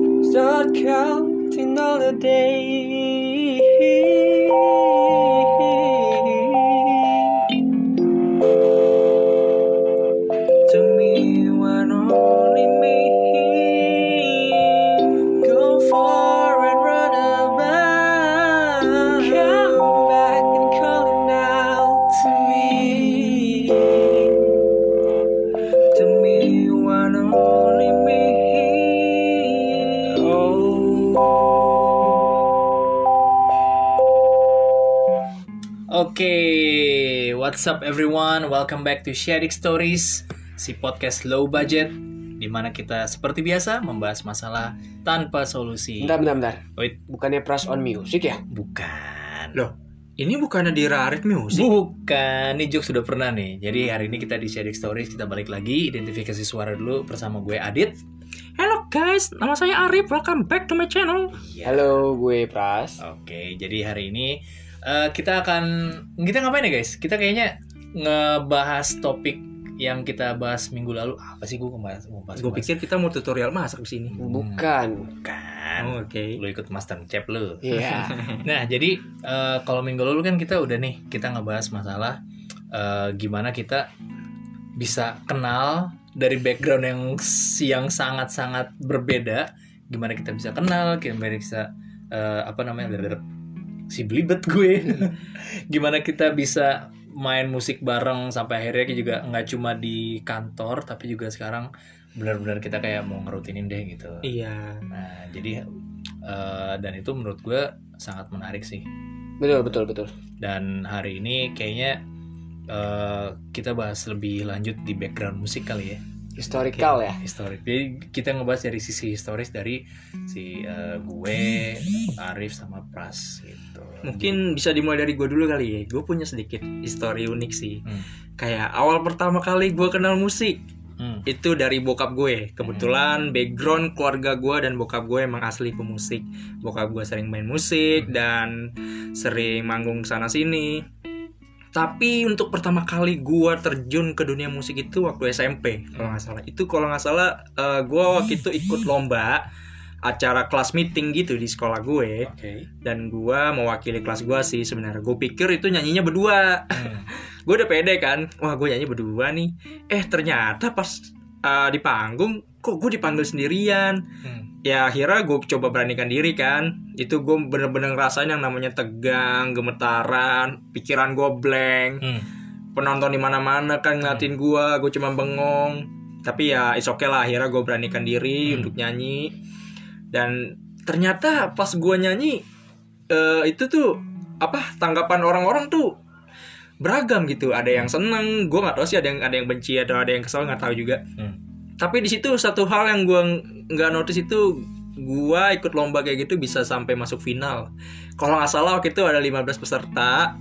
not counting all the days. To me, one only me. Go far and run about. Come back and call it out to me. To me, one only me. Oh. Oke, what's up everyone? Welcome back to Sharing Stories, si podcast low budget di mana kita seperti biasa membahas masalah tanpa solusi. Bentar, bentar, bentar. Wait, Bukannya Pras on Music ya? bukan. Loh, ini bukannya di Rarit Music? Bukan, ini joke sudah pernah nih. Jadi hari ini kita di Sharing Stories kita balik lagi identifikasi suara dulu bersama gue Adit. Hello guys, nama saya Arif, welcome back to my channel. Iya. Halo, gue Pras. Oke, jadi hari ini eh, kita akan kita ngapain ya guys? Kita kayaknya ngebahas topik yang kita bahas minggu lalu apa sih gue ngebahas? ngebahas- Gue pikir kita mau tutorial masak di sini. Hmm. Bukan. kan Oh, Oke. lu ikut master chef lu. Iya. Nah, jadi eh, kalau minggu lalu kan kita udah nih kita ngebahas masalah eh, gimana kita bisa kenal dari background yang s- yang sangat-sangat berbeda, gimana kita bisa kenal, gimana kita bisa eh, apa namanya? drrrr, si belibet gue. gimana kita bisa main musik bareng sampai akhirnya juga nggak cuma di kantor tapi juga sekarang benar-benar kita kayak mau ngerutinin deh gitu. Iya. Nah, jadi eh, dan itu menurut gue sangat menarik sih. betul, betul, betul. Dan hari ini kayaknya eh, kita bahas lebih lanjut di background musik kali ya, Historical ya. historis. Jadi kita ngebahas dari sisi historis dari si eh, gue, Arif sama Pras gitu. Mungkin bisa dimulai dari gue dulu kali ya. Gue punya sedikit histori unik sih. Hmm. Kayak awal pertama kali gue kenal musik Hmm. itu dari bokap gue. Kebetulan background keluarga gue dan bokap gue emang asli pemusik. Bokap gue sering main musik dan sering manggung sana sini. Tapi untuk pertama kali gue terjun ke dunia musik itu waktu SMP kalau nggak salah. Itu kalau nggak salah eh, gue waktu itu ikut lomba acara kelas meeting gitu di sekolah gue Oke. dan gua mewakili kelas gua sih sebenarnya gue pikir itu nyanyinya berdua Hmm. gue udah pede kan wah gue nyanyi berdua nih eh ternyata pas uh, di panggung kok gue dipanggil sendirian Hmm. ya akhirnya gue coba beranikan diri kan itu gue bener-bener ngerasain yang namanya tegang gemetaran pikiran gue blank Hmm. penonton di mana-mana kan ngeliatin gua, gue cuma bengong. Tapi ya it's okay lah akhirnya gue beranikan diri Hmm. untuk nyanyi. Dan ternyata pas gua nyanyi eh, itu tuh apa tanggapan orang-orang tuh beragam gitu. Ada yang seneng, gua nggak tahu sih ada yang ada yang benci atau ada yang kesel nggak tahu juga. Hmm. Tapi di situ satu hal yang gua ng- nggak notice itu gua ikut lomba kayak gitu bisa sampai masuk final. Kalau nggak salah waktu itu ada 15 peserta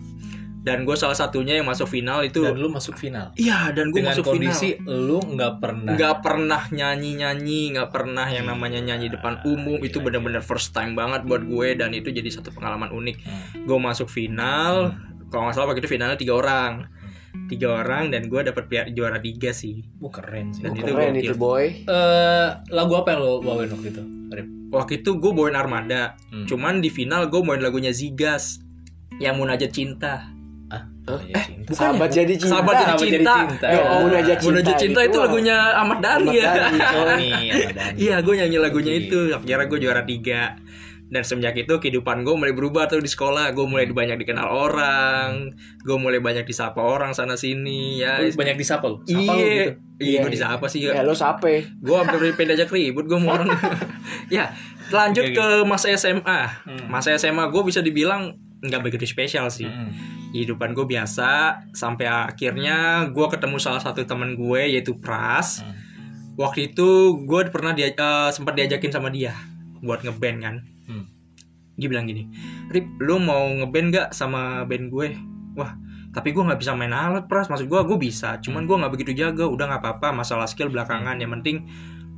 dan gue salah satunya yang masuk final itu Dan lu masuk final. Iya dan gue Dengan masuk kondisi nah. lu nggak pernah. final nggak pernah nyanyi nyanyi nggak pernah yang namanya nyanyi depan umum Gila, itu benar-benar first time banget buat gue dan itu jadi satu pengalaman unik Hmm. gue masuk final kalau nggak salah waktu itu finalnya tiga orang tiga orang dan gue dapet pihak juara tiga sih Wah, keren sih. Dan Eh itu Keren gokil. itu, boy. lagu apa yang lo bawain waktu itu? Arif? waktu itu gue bawain armada Hmm. cuman di final gue bawain lagunya Zigas yang munajat cinta Namanya Oh, iya, cinta. Sahabat jadi cinta. sahabat jadi Sahabat jadi cinta, cinta. Ya Allah. Munajat cinta munajat cinta itu itu apa? lagunya Ahmad Ahmad Dhani ya Dhani, coy. Dani, sama Dani. Iya, gue nyanyi lagunya Jadi- itu. Akhirnya gue juara tiga. Dan semenjak itu kehidupan gue mulai berubah tuh di sekolah. Gue mulai banyak dikenal orang. Gue mulai banyak disapa orang sana sini. Ya, Lu banyak disapa lu. Sapa lu iya. gitu. Iya, Iya, gue disapa sih. Ya, lo sape. Gue hampir pindah aja ribut gue mau orang. ya, lanjut Oke, ke masa SMA. Masa SMA gue bisa dibilang nggak begitu spesial sih Mm. kehidupan gue biasa sampai akhirnya gue ketemu salah satu teman gue yaitu Pras Hmm. waktu itu gue pernah dia eh, sempat diajakin sama dia buat ngeband kan Hmm. dia bilang gini Rip lu mau ngeband gak sama band gue wah tapi gue nggak bisa main Hmm. alat Pras maksud gue gue bisa cuman gue nggak begitu jago udah nggak apa-apa masalah skill belakangan yang penting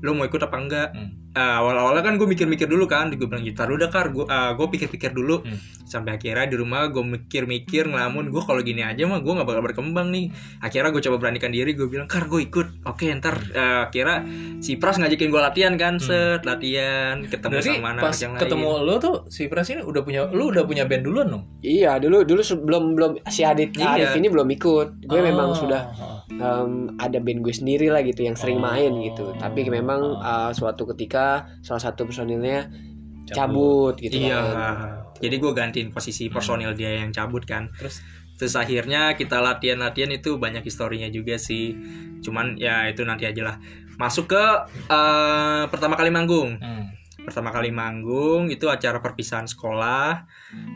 lu mau ikut apa enggak Hmm. Eh, awal-awalnya kan gue mikir-mikir dulu kan gue bilang gitar udah kar gue pikir-pikir dulu Hmm. sampai akhirnya di rumah gue mikir-mikir ngelamun gue kalau gini aja mah gue nggak bakal berkembang nih akhirnya gue coba beranikan diri gue bilang kar gue ikut oke ntar Eh, akhirnya si Pras ngajakin gue latihan kan Hmm. set latihan ketemu Berarti sama anak pas yang lain gitu. ketemu lo tuh si Pras ini udah punya lu udah punya band duluan dong. Iya, dulu dulu sebelum belum si Adit Iya. Arif ini belum ikut. Gue Oh. memang sudah em, ada band gue sendiri lah gitu yang sering Oh. main gitu. Tapi memang eh, suatu ketika salah satu personilnya cabut, gitu. Iya. Oh. kan. Jadi gue gantiin Hmm. posisi personil dia yang cabut kan. Terus Terus akhirnya kita latihan-latihan itu banyak historinya juga sih. Cuman ya itu nanti aja lah. Masuk ke eh, pertama kali manggung. hmm, Pertama kali manggung itu acara perpisahan sekolah.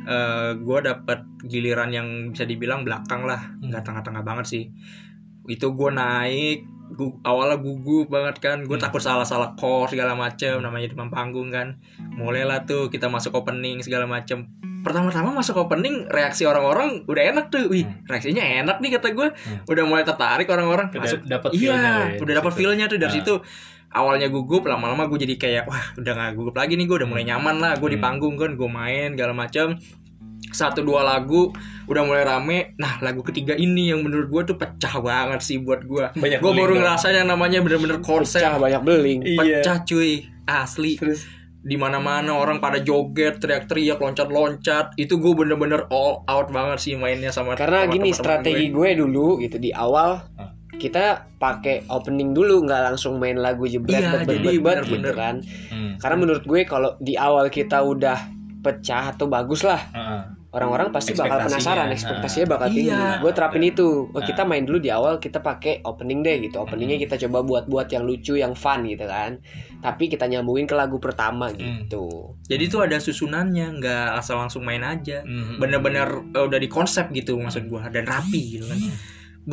Eh gue dapet giliran yang bisa dibilang belakang lah, Hmm. nggak tengah-tengah banget sih. Itu gue naik. Gu- awalnya gugup banget kan gue Hmm. takut salah-salah chord segala macem namanya depan panggung kan mulailah tuh kita masuk opening segala macem pertama-tama masuk opening reaksi orang-orang udah enak tuh wih Hmm. reaksinya enak nih kata gue Hmm. udah mulai tertarik orang-orang udah masuk dapat ya? iya udah dapat feelnya tuh dari Nah. situ awalnya gugup lama-lama gue jadi kayak wah udah gak gugup lagi nih gue udah mulai nyaman lah gue Hmm. di panggung kan gue main segala macem satu dua lagu udah mulai rame nah lagu ketiga ini yang menurut gue tuh pecah banget sih buat gue Banyak gue baru guling dong. ngerasain yang namanya bener-bener konsep Pecah banyak beling. ya. Iya. pecah cuy asli Terus di mana mana orang pada joget teriak-teriak loncat-loncat itu gue bener-bener all out banget sih mainnya sama Karena sama gini teman-teman strategi gue. gue. dulu gitu di awal Hmm. kita pakai opening dulu nggak langsung main lagu jebret Iya, bet bet jadi bet, bet gitu bener-bener. kan. hmm, Karena menurut gue kalau di awal kita udah pecah atau bagus lah heeh. orang-orang pasti bakal Ekspektasinya, penasaran nah. ekspektasinya bakal tinggi. Iya. Gue terapin Nah. itu. Oh, kita main dulu di awal kita pakai opening deh gitu. Hmm. Openingnya kita coba buat-buat yang lucu, yang fun gitu kan. Tapi kita nyambungin ke lagu pertama Hmm. gitu. jadi tuh ada susunannya nggak asal langsung main aja Hmm. bener-bener eh, udah di konsep gitu maksud gue dan rapi gitu kan Hmm.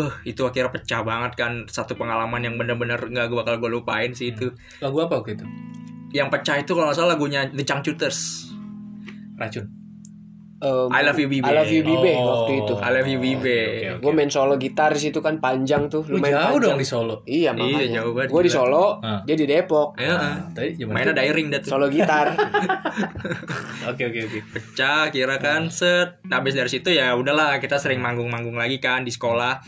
Beh, itu akhirnya pecah banget kan satu pengalaman yang bener-bener nggak bakal gue lupain sih itu Hmm. lagu apa waktu itu? yang pecah itu kalau nggak salah lagunya The Changcuters Racun. Um, I Love You, Bibe. I Love You Bibe Oh. waktu itu. I Love You, Bibe. Oke, oke, Gue oke. main solo gitar di situ kan panjang tuh, Lu lumayan jauh panjang. dong di Solo. Iya Oh, iya makanya. jauh banget Gue di gila. Solo, Ah. dia di Depok. Iya, eh. Tadi gimana? mainnya daring dah tuh. Solo gitar. Oke oke oke. pecah kira kan set nah habis dari situ ya udahlah kita sering manggung-manggung lagi kan di sekolah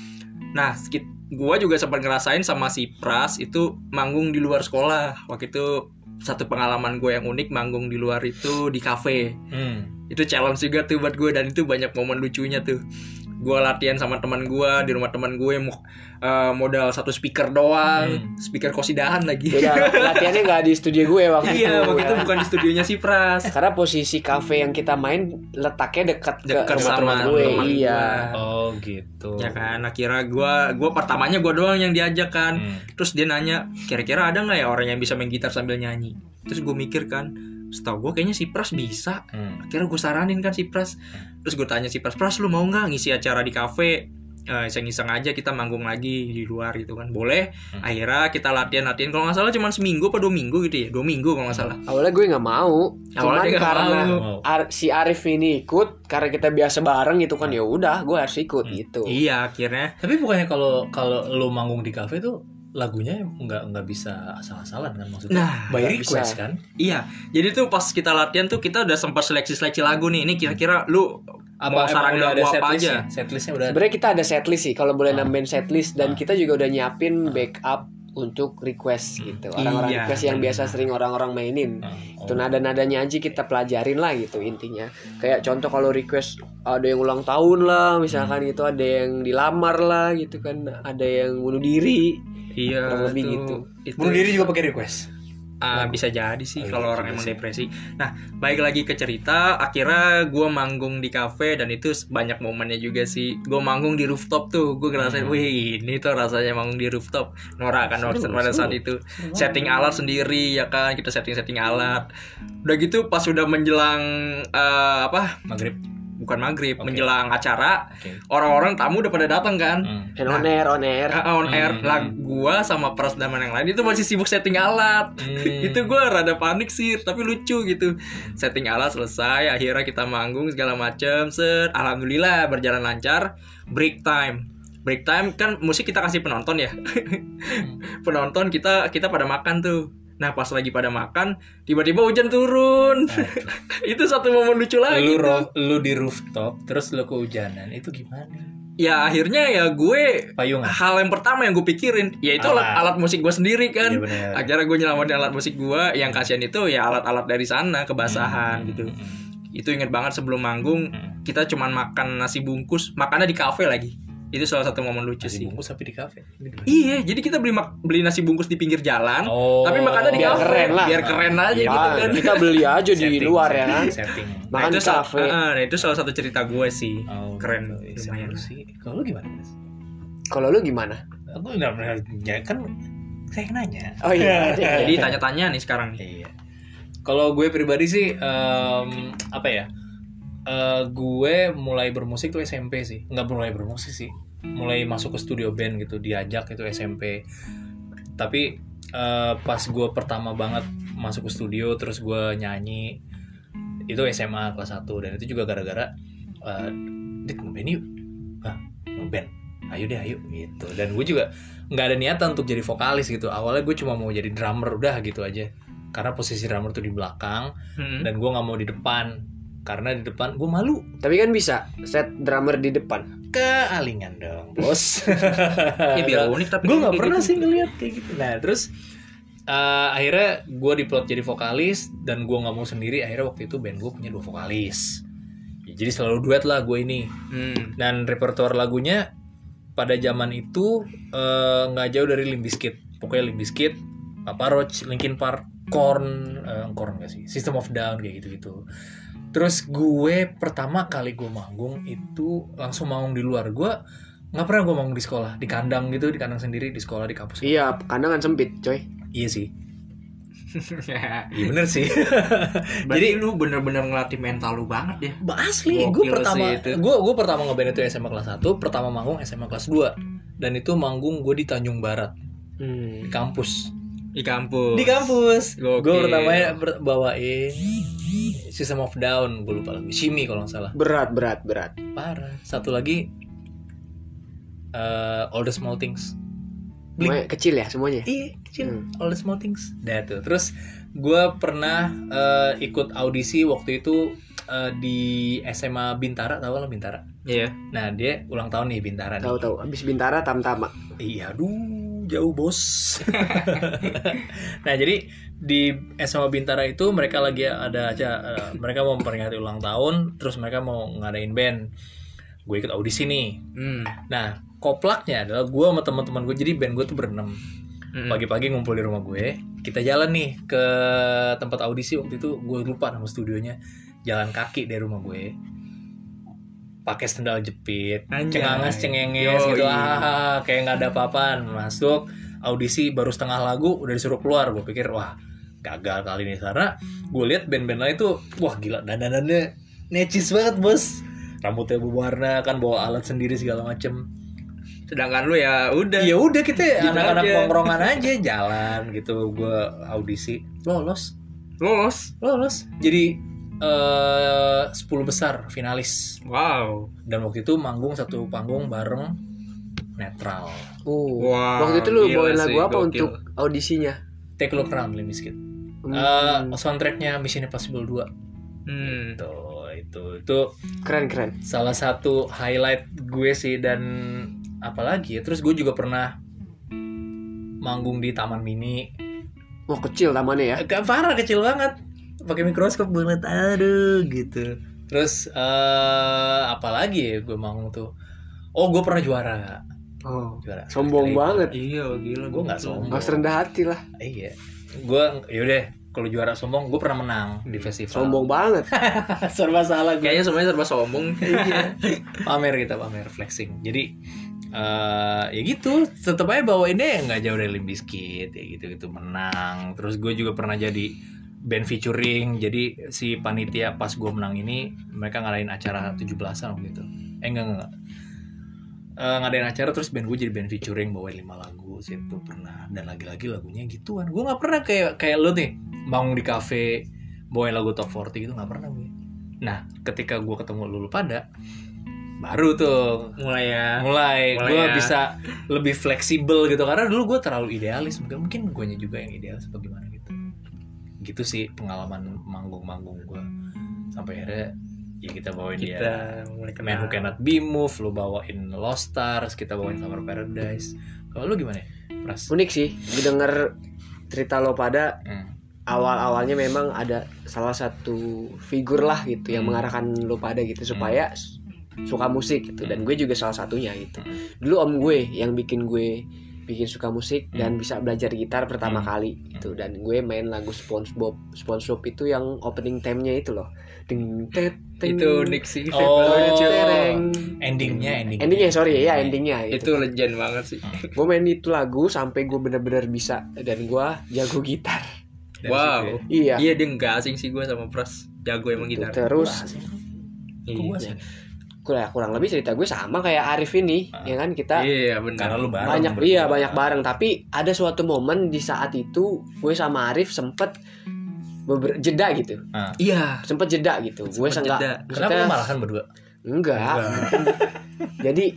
nah sekit gua juga sempat ngerasain sama si Pras itu manggung di luar sekolah waktu itu satu pengalaman gue yang unik manggung di luar itu di kafe Hmm. itu challenge juga tuh buat gue dan itu banyak momen lucunya tuh gue latihan sama teman gue di rumah teman gue mo- eh, modal satu speaker doang Hmm. speaker kosidahan lagi Beda latihannya nggak di studio gue waktu itu. iya waktu itu ya. bukan di studionya si Pras Karena posisi kafe yang kita main letaknya dekat ke dekat rumah teman sama gue. teman iya. gua. Oh gitu. ya kan akhirnya gue gua pertamanya gue doang yang diajak kan Hmm. terus dia nanya kira-kira ada nggak ya orang yang bisa main gitar sambil nyanyi terus gue mikir kan setahu gue kayaknya si Pras bisa Hmm. akhirnya gue saranin kan si Pras terus gue tanya si Pras Pras lu mau nggak ngisi acara di kafe Eh, iseng-iseng aja kita manggung lagi di luar gitu kan boleh Hmm. akhirnya kita latihan latihan kalau nggak salah cuma seminggu apa dua minggu gitu ya dua minggu kalau nggak salah Awalnya gue nggak mau, Awalnya cuman dia nggak karena mau. Wow. Ar- si Arif ini ikut karena kita biasa bareng gitu kan ya udah gue harus ikut gitu. iya akhirnya Tapi bukannya kalau kalau lu manggung di kafe tuh lagunya nggak nggak bisa asal-asalan kan maksudnya? Nah, by nggak bisa. request kan? Iya, jadi tuh pas kita latihan tuh kita udah sempat seleksi-seleksi lagu nih. Ini kira-kira lu mau emang saran udah lagu apa aja? setlistnya? Setlistnya udah ada. Sebenarnya kita ada setlist sih kalau boleh Ah. nambahin setlist dan Hmm. Ah. kita juga udah nyiapin backup untuk request gitu. Orang-orang Iya. request yang biasa sering orang-orang mainin. Nah, oh. Itu nada-nadanya aja kita pelajarin lah gitu intinya. Kayak contoh kalau request ada yang ulang tahun lah Hmm. misalkan gitu, ada yang dilamar lah gitu kan, ada yang bunuh diri. Iya, Kurang lebih tuh, gitu. itu. Bunuh diri juga pakai request. Ah, bisa jadi Oh, sih iya kalau juga orang emang sih. depresi. Nah, baik lagi ke cerita, akhirnya gua manggung di kafe dan itu banyak momennya juga sih. Gua manggung di rooftop tuh, gua Hmm. ngerasain, wih ini tuh rasanya manggung di rooftop. Nora kan Seru, pada saat seru. Hmm. itu setting alat sendiri ya kan, kita setting-setting alat. Udah gitu pas udah menjelang eh, apa? Maghrib. Bukan maghrib, Oke. menjelang acara, Oke. orang-orang tamu udah pada datang kan Hmm. And on air, on air. Ah, on Hmm. air lah gua sama Pras dan yang lain itu masih sibuk setting alat Hmm. itu gua rada panik sih tapi lucu gitu setting alat selesai akhirnya kita manggung segala macem set alhamdulillah berjalan lancar break time break time kan musik kita kasih penonton ya penonton kita kita pada makan tuh Nah pas lagi pada makan tiba-tiba hujan turun. itu satu momen lucu Hmm. lu lagi. tuh. ro- lu di rooftop terus lu kehujanan itu gimana Ya akhirnya ya gue payungan hal yang pertama yang gue pikirin yaitu alat, Alat. alat musik gue sendiri kan. Iya, bener. Akhirnya gue nyelamatin alat musik gue yang kasihan itu ya alat-alat dari sana kebasahan gitu. Itu inget banget sebelum manggung Hmm. kita cuman makan nasi bungkus, makannya di kafe lagi. Itu salah satu momen lucu Nasi sih. bungkus tapi di kafe Iya, jadi kita beli mak- beli nasi bungkus di pinggir jalan, oh tapi makannya di biar kafe. keren lah. Biar keren aja Iya, gitu Ah, kan. kita beli aja di Setting, luar ya kan setting, setting Nah, makan itu di sal- kafe eh, eh, nah, itu salah satu cerita gue sih. Oh, Keren, gitu. lumayan. Seru sih kalau lu gimana Mas? kalau lu gimana aku nggak pernah ya kan saya yang nanya oh iya Jadi tanya-tanya nih sekarang nih. Iya. Kalau gue pribadi sih em, apa ya? Eh, gue mulai bermusik tuh SMP sih. Nggak mulai bermusik sih. Mulai masuk ke studio band gitu, diajak itu SMP. Tapi eh, pas gue pertama banget masuk ke studio terus gue nyanyi itu SMA kelas 1 dan itu juga gara-gara eh dit ngeband yuk. Hah, ngeband. Ayo deh, ayo gitu. Dan gue juga nggak ada niatan untuk jadi vokalis gitu. Awalnya gue cuma mau jadi drummer udah gitu aja karena posisi drummer tuh di belakang Hmm. dan gue nggak mau di depan karena di depan gue malu tapi kan bisa set drummer di depan kealingan dong bos Ya biar unik tapi gue iya. nggak kayak pernah gitu. sih ngeliat kayak gitu nah terus eh, akhirnya gue diplot jadi vokalis dan gue nggak mau sendiri akhirnya waktu itu band gue punya dua vokalis Ya, jadi selalu duet lah gue ini Hmm. dan repertoar lagunya pada zaman itu eh, nggak jauh dari Limp Bizkit pokoknya Limp Bizkit Papa Roach Linkin Park Korn eh, Korn nggak sih System of Down kayak gitu gitu terus gue pertama kali gue manggung itu langsung manggung di luar gue nggak pernah gue manggung di sekolah di kandang gitu di kandang sendiri di sekolah di kampus iya kandangan sempit coy iya sih iya bener sih Jadi lu bener-bener ngelatih mental lu banget ya. Ba- asli Gokil gue sih pertama itu. gue gue pertama ngeband itu SMA kelas 1 pertama manggung SMA kelas 2 dan itu manggung gue di Tanjung Barat di hmm. kampus Di kampus. di kampus Gokil. gue pertamanya ber- bawain System of Down gue lupa lagi Shimmy kalau nggak salah berat berat berat parah satu lagi eh All the Small Things Semuanya kecil ya semuanya Iya, kecil. Hmm. All the small things. Nah, tuh. Terus gue pernah eh, ikut audisi waktu itu eh, di SMA Bintara, tau lah Bintara. Iya. Nah, dia ulang tahun nih Bintara nih. tahu tahu abis bintara tamtama Iya, aduh, jauh bos. nah, jadi di SMA Bintara itu mereka lagi ada aja, eh, mereka mau memperingati ulang tahun, terus mereka mau ngadain band. Gue ikut audisi nih. Hmm. Nah, koplaknya adalah gue sama teman-teman gue jadi band gue tuh berenam. Hmm. Pagi-pagi ngumpul di rumah gue, kita jalan nih ke tempat audisi waktu itu gue lupa nama studionya. Jalan kaki dari rumah gue. Pakai sendal jepit, Anjay. cengangas cengenges Iya. Yoi. gitu ah kayak nggak ada apa-apaan masuk audisi baru setengah lagu udah disuruh keluar gue pikir wah gagal kali ini karena gue lihat band-band lain tuh wah gila dandanannya necis banget bos rambutnya berwarna kan bawa alat sendiri segala macem Sedangkan lu ya udah. ya udah kita Gitu anak-anak aja. nongkrongan aja jalan gitu gue audisi lolos Lolos. lolos jadi eh 10 besar finalis Wow. dan waktu itu manggung satu panggung bareng netral uh Wow. waktu itu lu gila bawain sih, lagu apa gokil. untuk audisinya Take a Look Around Limp Bizkit. Hmm, Eh, soundtracknya Mission Impossible 2 Hmm. itu itu itu keren keren salah satu highlight gue sih dan apalagi ya terus gue juga pernah manggung di taman mini wah kecil tamannya ya agak parah kecil banget pakai mikroskop banget aduh gitu terus eh apalagi ya gue manggung tuh oh gue pernah juara oh juara sombong Kali- banget Iya, gila. Gua nggak sombong. harus rendah hati lah Eh, iya gue yaudah kalau juara sombong gue pernah menang di festival sombong Ah. banget serba salah gue Kayaknya semuanya serba sombong. pamer kita pamer flexing jadi eh ya gitu tetap aja bawainnya ya nggak jauh dari Limp Bizkit ya gitu gitu menang terus gue juga pernah jadi band featuring jadi si panitia pas gue menang ini mereka ngadain acara 17-an waktu itu eh enggak enggak, enggak. Eh, ngadain acara terus band gue jadi band featuring bawain lima lagu situ pernah dan lagi-lagi lagunya gituan gue nggak pernah kayak kayak lo nih bangun di cafe bawain lagu top 40 gitu nggak pernah gue nah ketika gue ketemu lulu pada baru tuh mulai ya mulai, Mulai gue ya. bisa lebih fleksibel gitu karena dulu gue terlalu idealis mungkin mungkin guanya juga yang idealis atau gimana gitu gitu sih pengalaman manggung-manggung gue sampai akhirnya ya kita bawain kita dia mulai kenal Man Who Cannot Be Move lu bawain Lost Stars kita bawain Summer Paradise kalau lu gimana ya Pras unik sih gue denger cerita lo pada Hmm. awal-awalnya memang ada salah satu figur lah gitu yang Hmm. mengarahkan lo pada gitu supaya s- suka musik gitu dan Hmm. gue juga salah satunya gitu Hmm. dulu om gue yang bikin gue bikin suka musik Hmm. dan bisa belajar gitar pertama Hmm. kali gitu dan gue main lagu SpongeBob SpongeBob itu yang opening theme-nya itu loh ding tet ting, itu unik sih Oh. Februari, cuy. tereng. endingnya endingnya endingnya sorry ya, ya endingnya gitu. itu legend banget sih gue main itu lagu sampai gue bener-bener bisa dan gue jago gitar Dari wow situ iya ya. iya dia nggak asing sih gue sama Pras jago emang gitu. gitar terus Wah, asik. Iya. Gua sih. kurang kurang lebih cerita gue sama kayak Arif ini Ah. ya kan kita iya benar karena lu bareng banyak berdua. iya banyak bareng tapi ada suatu momen di saat itu gue sama Arif sempet beber- jeda gitu iya sempet jeda gitu gue Sempet seenggak jeda. kenapa lu kan? malahan berdua enggak jadi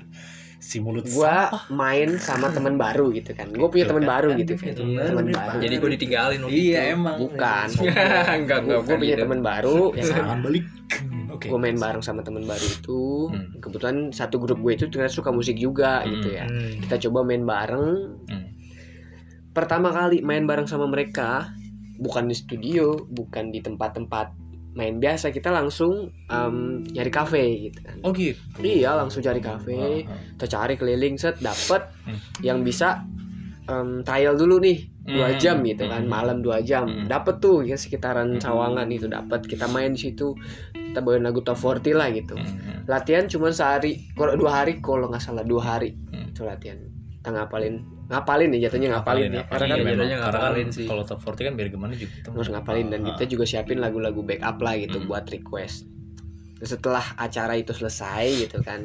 si mulut gue main sama teman baru gitu kan gue punya Gitu teman kan. baru Kan gitu dia punya kan teman teman baru baru, dia jadi gue ditinggalin waktu iya itu. emang gitu. Bukan. Iya. enggak enggak gue punya teman gitu. baru ya kan Jangan balik. Hmm. Oke. gue main bareng sama teman baru itu Hmm. kebetulan satu grup gue itu ternyata suka musik juga Hmm. gitu ya kita coba main bareng Hmm. pertama kali main bareng sama mereka bukan di studio bukan di tempat-tempat main biasa kita langsung em, nyari kafe gitu kan Oh gitu. Iya, langsung cari Oh, kafe. Ah, ah. kita cari keliling set dapet Hmm. yang bisa em, trial dulu nih dua Hmm. jam gitu kan Hmm. malam dua jam Hmm. dapet tuh ya sekitaran Hmm. Sawangan itu dapet kita main di situ kita bawain lagu top 40 lah gitu Hmm. latihan cuma sehari kalau dua hari kalau nggak salah dua hari Hmm. itu latihan kita ngapalin ngapalin nih jatuhnya ngapalin, ya karena Iya, kan memang. bedanya Karena ngapalin kan sih. Kalau top 40 kan biar gimana juga kita harus ngapalin dan gitu. Ah, kita juga siapin lagu-lagu backup lah gitu Hmm. buat request Terus setelah acara itu selesai gitu kan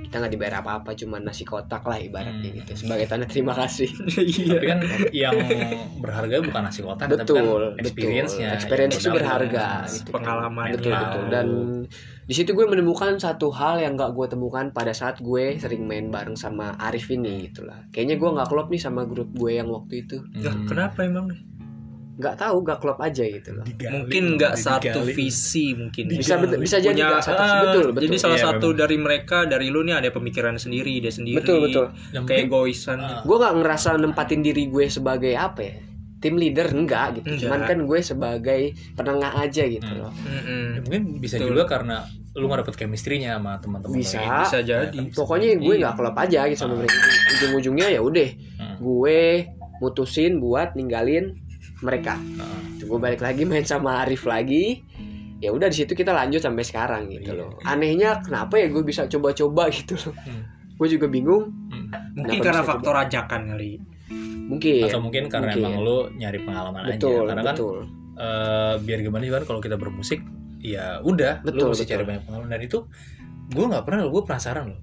kita nggak dibayar apa-apa cuma nasi kotak lah ibaratnya Hmm. gitu sebagai tanda terima kasih Iya. ah. Tapi kan yang berharga bukan nasi kotak tapi betul kan experience-nya. betul experience Yang kan. Hmm. itu berharga Iya. dapat. gitu. Pengalamannya. betul betul dan di situ gue menemukan satu hal yang gak gue temukan pada saat gue sering main bareng sama Arif ini gitulah kayaknya gue nggak klop nih sama grup gue yang waktu itu Lah, Hmm. kenapa emang nggak tahu gak klop aja gitu loh Digali, mungkin nggak digali. satu visi mungkin ya. bisa Digali. bet- bisa jadi nggak satu ah, betul betul jadi salah Iya, satu dari mereka dari lu nih ada pemikiran sendiri dia sendiri betul betul Yang kayak penting, goisan ah, gue nggak ngerasa nempatin diri gue sebagai apa ya tim leader enggak gitu Enggak. cuman kan gue sebagai penengah aja gitu Hmm. loh Mm-mm. ya mungkin bisa Betul. juga karena lu nggak dapet chemistry-nya sama teman-teman gitu. Bisa. lain. bisa jadi Bisa. pokoknya gue Iya. nggak klop aja gitu sama Ah. mereka ujung-ujungnya ya udah Hmm. gue mutusin buat ninggalin mereka Ah. gue balik lagi main sama Arif lagi ya udah di situ kita lanjut sampai sekarang gitu Iya. loh anehnya kenapa ya gue bisa coba-coba gitu loh Hmm. gue juga bingung Hmm. mungkin Kenapa karena bisa faktor ajakan kali mungkin Atau mungkin karena Iya. Mungkin. emang lu nyari pengalaman betul aja. Karena kan betul eh biar gimana juga kan kalau kita bermusik ya udah Betul, lu mesti betul. cari banyak pengalaman dan itu gue nggak pernah gue penasaran loh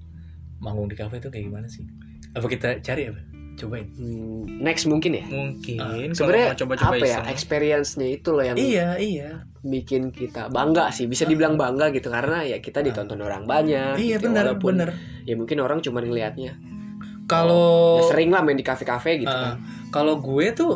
manggung di kafe itu kayak gimana sih apa kita cari apa cobain Hmm, next mungkin ya mungkin Ah, kalau sebenarnya mau coba-coba apa ya iseng. Iya, experience-nya itu loh yang iya iya bikin kita bangga sih bisa dibilang bangga gitu karena ya kita ditonton orang banyak iya gitu. benar Walaupun benar ya mungkin orang cuma ngelihatnya kalau ya sering lah main di kafe-kafe gitu Oh. Ah, kan kalau gue tuh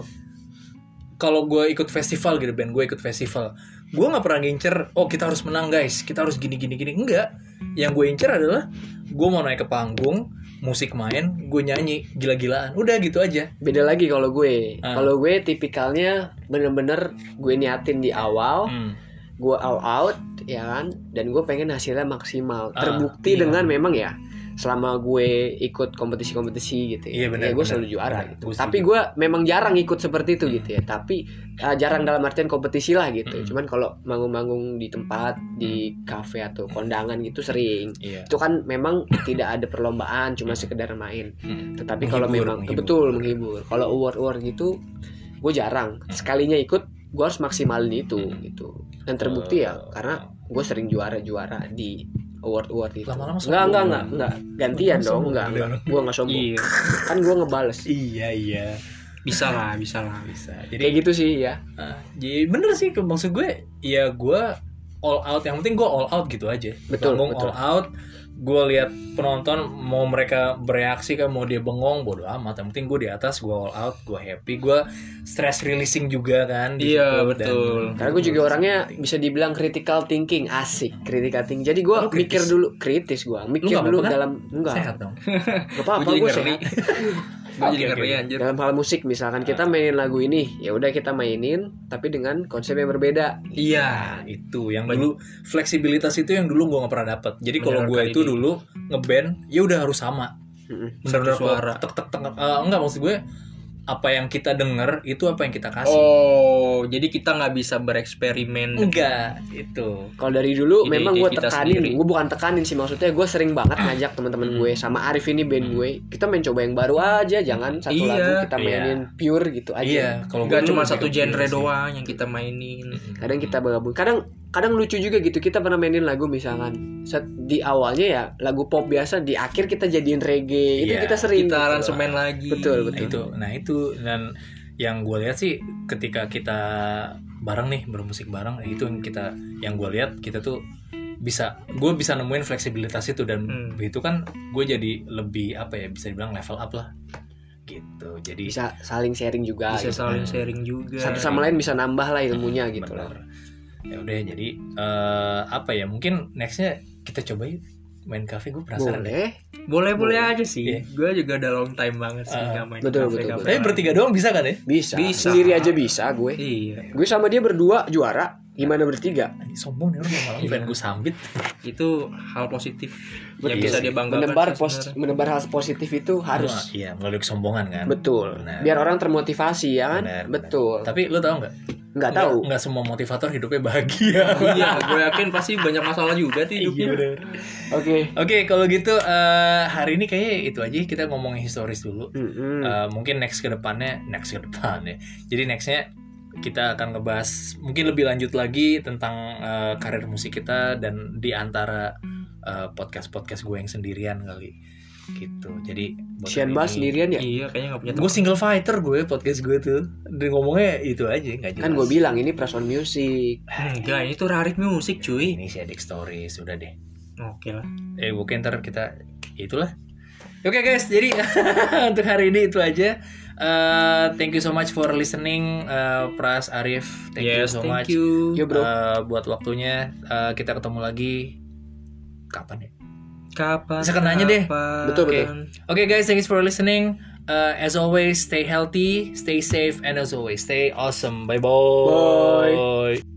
kalau gue ikut festival gitu band gue ikut festival gue nggak pernah ngincer oh kita harus menang guys kita harus gini gini gini enggak yang gue incer adalah gue mau naik ke panggung musik main gue nyanyi gila-gilaan udah gitu aja beda lagi kalau gue Ah. kalau gue tipikalnya bener-bener gue niatin di awal Hmm. gue all out ya kan dan gue pengen hasilnya maksimal Ah, terbukti iya. dengan memang ya selama gue ikut kompetisi-kompetisi gitu ya, Iya, benar, ya gue benar. selalu juara Benar, gitu gue tapi setuju. gue memang jarang ikut seperti itu Hmm. gitu ya tapi eh, jarang dalam artian kompetisi lah gitu Hmm. cuman kalau manggung-manggung di tempat di kafe atau kondangan gitu sering iya itu kan memang tidak ada perlombaan cuma sekedar main Hmm. tetapi kalau Menghibur, memang menghibur. betul menghibur kalau award award gitu gue jarang sekalinya ikut gue harus maksimalin itu Hmm. gitu dan terbukti ya Eh, karena gue sering juara-juara di award award itu Lama-lama nggak sombong. nggak nggak nggak gantian dong Lama-lama sombong. nggak nggak gue nggak sombong iya kan gue ngebales iya iya bisa lah bisa lah bisa kayak jadi gitu sih ya ah, jadi bener sih ke- maksud gue ya gue all out yang penting gue all out gitu aja Betul, Panggung betul. all out gue lihat penonton mau mereka bereaksi kan mau dia bengong bodo amat yang penting gue di atas gue all out gue happy gue stress releasing juga kan di situ. Iya, Dan- betul. Karena gue juga orangnya bisa dibilang critical thinking, asik critical thinking. Jadi gue Lu kritis? mikir dulu kritis gue, mikir nggak dulu apa-apa kan? dalam enggak, sehat dong Nggak apa-apa Gua jadi gue ngeri. sehat. Gue jadi Oke, ngeri oke. anjir. Dalam hal musik misalkan kita mainin lagu ini, ya udah kita mainin tapi dengan konsep yang berbeda. Nah, Iya. itu yang dulu fleksibilitas itu yang dulu gue nggak pernah dapat. Jadi kalau Benar gue kali itu ini. dulu ngeband, ya udah harus sama. Mm-mm. Benar-benar Satu suara. Tek tek tek. eh, enggak maksud gue apa yang kita denger itu apa yang kita kasih. Oh, jadi kita nggak bisa bereksperimen. Hmm. Enggak, itu. Kalau dari dulu Ide-ide memang gue kita tekanin, sendiri. gue bukan tekanin sih maksudnya gue sering banget ngajak teman-teman gue sama Arif ini band gue, kita main coba yang baru aja, jangan satu Iya, lagu kita iya. mainin pure gitu aja. Iya, kalau gue Nggak dulu cuma lebih satu ke genre pure sih. doang yang kita mainin. kadang kita bergabung kadang kadang lucu juga gitu kita pernah mainin lagu misalkan set, di awalnya ya lagu pop biasa di akhir kita jadiin reggae itu Iya, kita sering Kita gitu. aransemen lagi. Betul, Nah, Iya. itu. Nah, itu dan yang gue lihat sih ketika kita bareng nih bermusik bareng eh, itu yang kita yang gue lihat kita tuh bisa gue bisa nemuin fleksibilitas itu dan Hmm. begitu kan gue jadi lebih apa ya bisa dibilang level up lah gitu jadi bisa saling sharing juga Bisa gitu. saling sharing juga. satu sama lain bisa nambah lah ilmunya gitu lah Hmm, benar. ya udah jadi eh, apa ya mungkin nextnya kita coba yuk main cafe gue penasaran deh boleh boleh boleh aja sih Iya. gue juga udah long time banget sih Ah, nggak main betul, kafe betul, kafe. tapi bertiga doang bisa kan ya bisa. Bisa. sendiri aja bisa gue iya gue sama dia berdua juara gimana bertiga Ini sombong nih orang malam pengen gue sambit itu hal positif Iya yang Betul Ya, bisa sih. dia banggakan menebar sih pos sebenarnya. menebar hal positif itu Nah, harus iya melalui kesombongan kan betul Benar. biar orang termotivasi ya kan Benar, benar. betul tapi iya. lo tau nggak nggak tahu nggak semua motivator hidupnya bahagia Iya, iya gue yakin pasti banyak masalah juga sih Iya. hidupnya oke Oke, kalau gitu eh, hari ini kayaknya itu aja kita ngomongin historis dulu. Mm-mm. Eh, mungkin next ke depannya, next ke depannya. Jadi nextnya kita akan ngebahas mungkin lebih lanjut lagi tentang eh, karir musik kita dan di antara eh, podcast-podcast gue yang sendirian kali. Gitu. Jadi buat Sian hari Bas ini- sendirian ya iya kayaknya nggak punya Gue single fighter gue podcast gue tuh. Dan ngomongnya itu aja nggak jelas. kan gue bilang ini Prason Music Eh, enggak ini tuh rarik musik cuy ini si Adik Stories udah deh. oke lah eh mungkin ntar kita itulah oke guys jadi untuk hari ini itu aja Eh, thank you so much for listening eh, Pras Arif thank you yes so thank much you yo bro eh, buat waktunya Eh, kita ketemu lagi kapan ya kapan Sekenanya deh. kapan. Betul, betul. oke guys thank you for listening Eh, as always stay healthy stay safe and as always stay awesome bye bye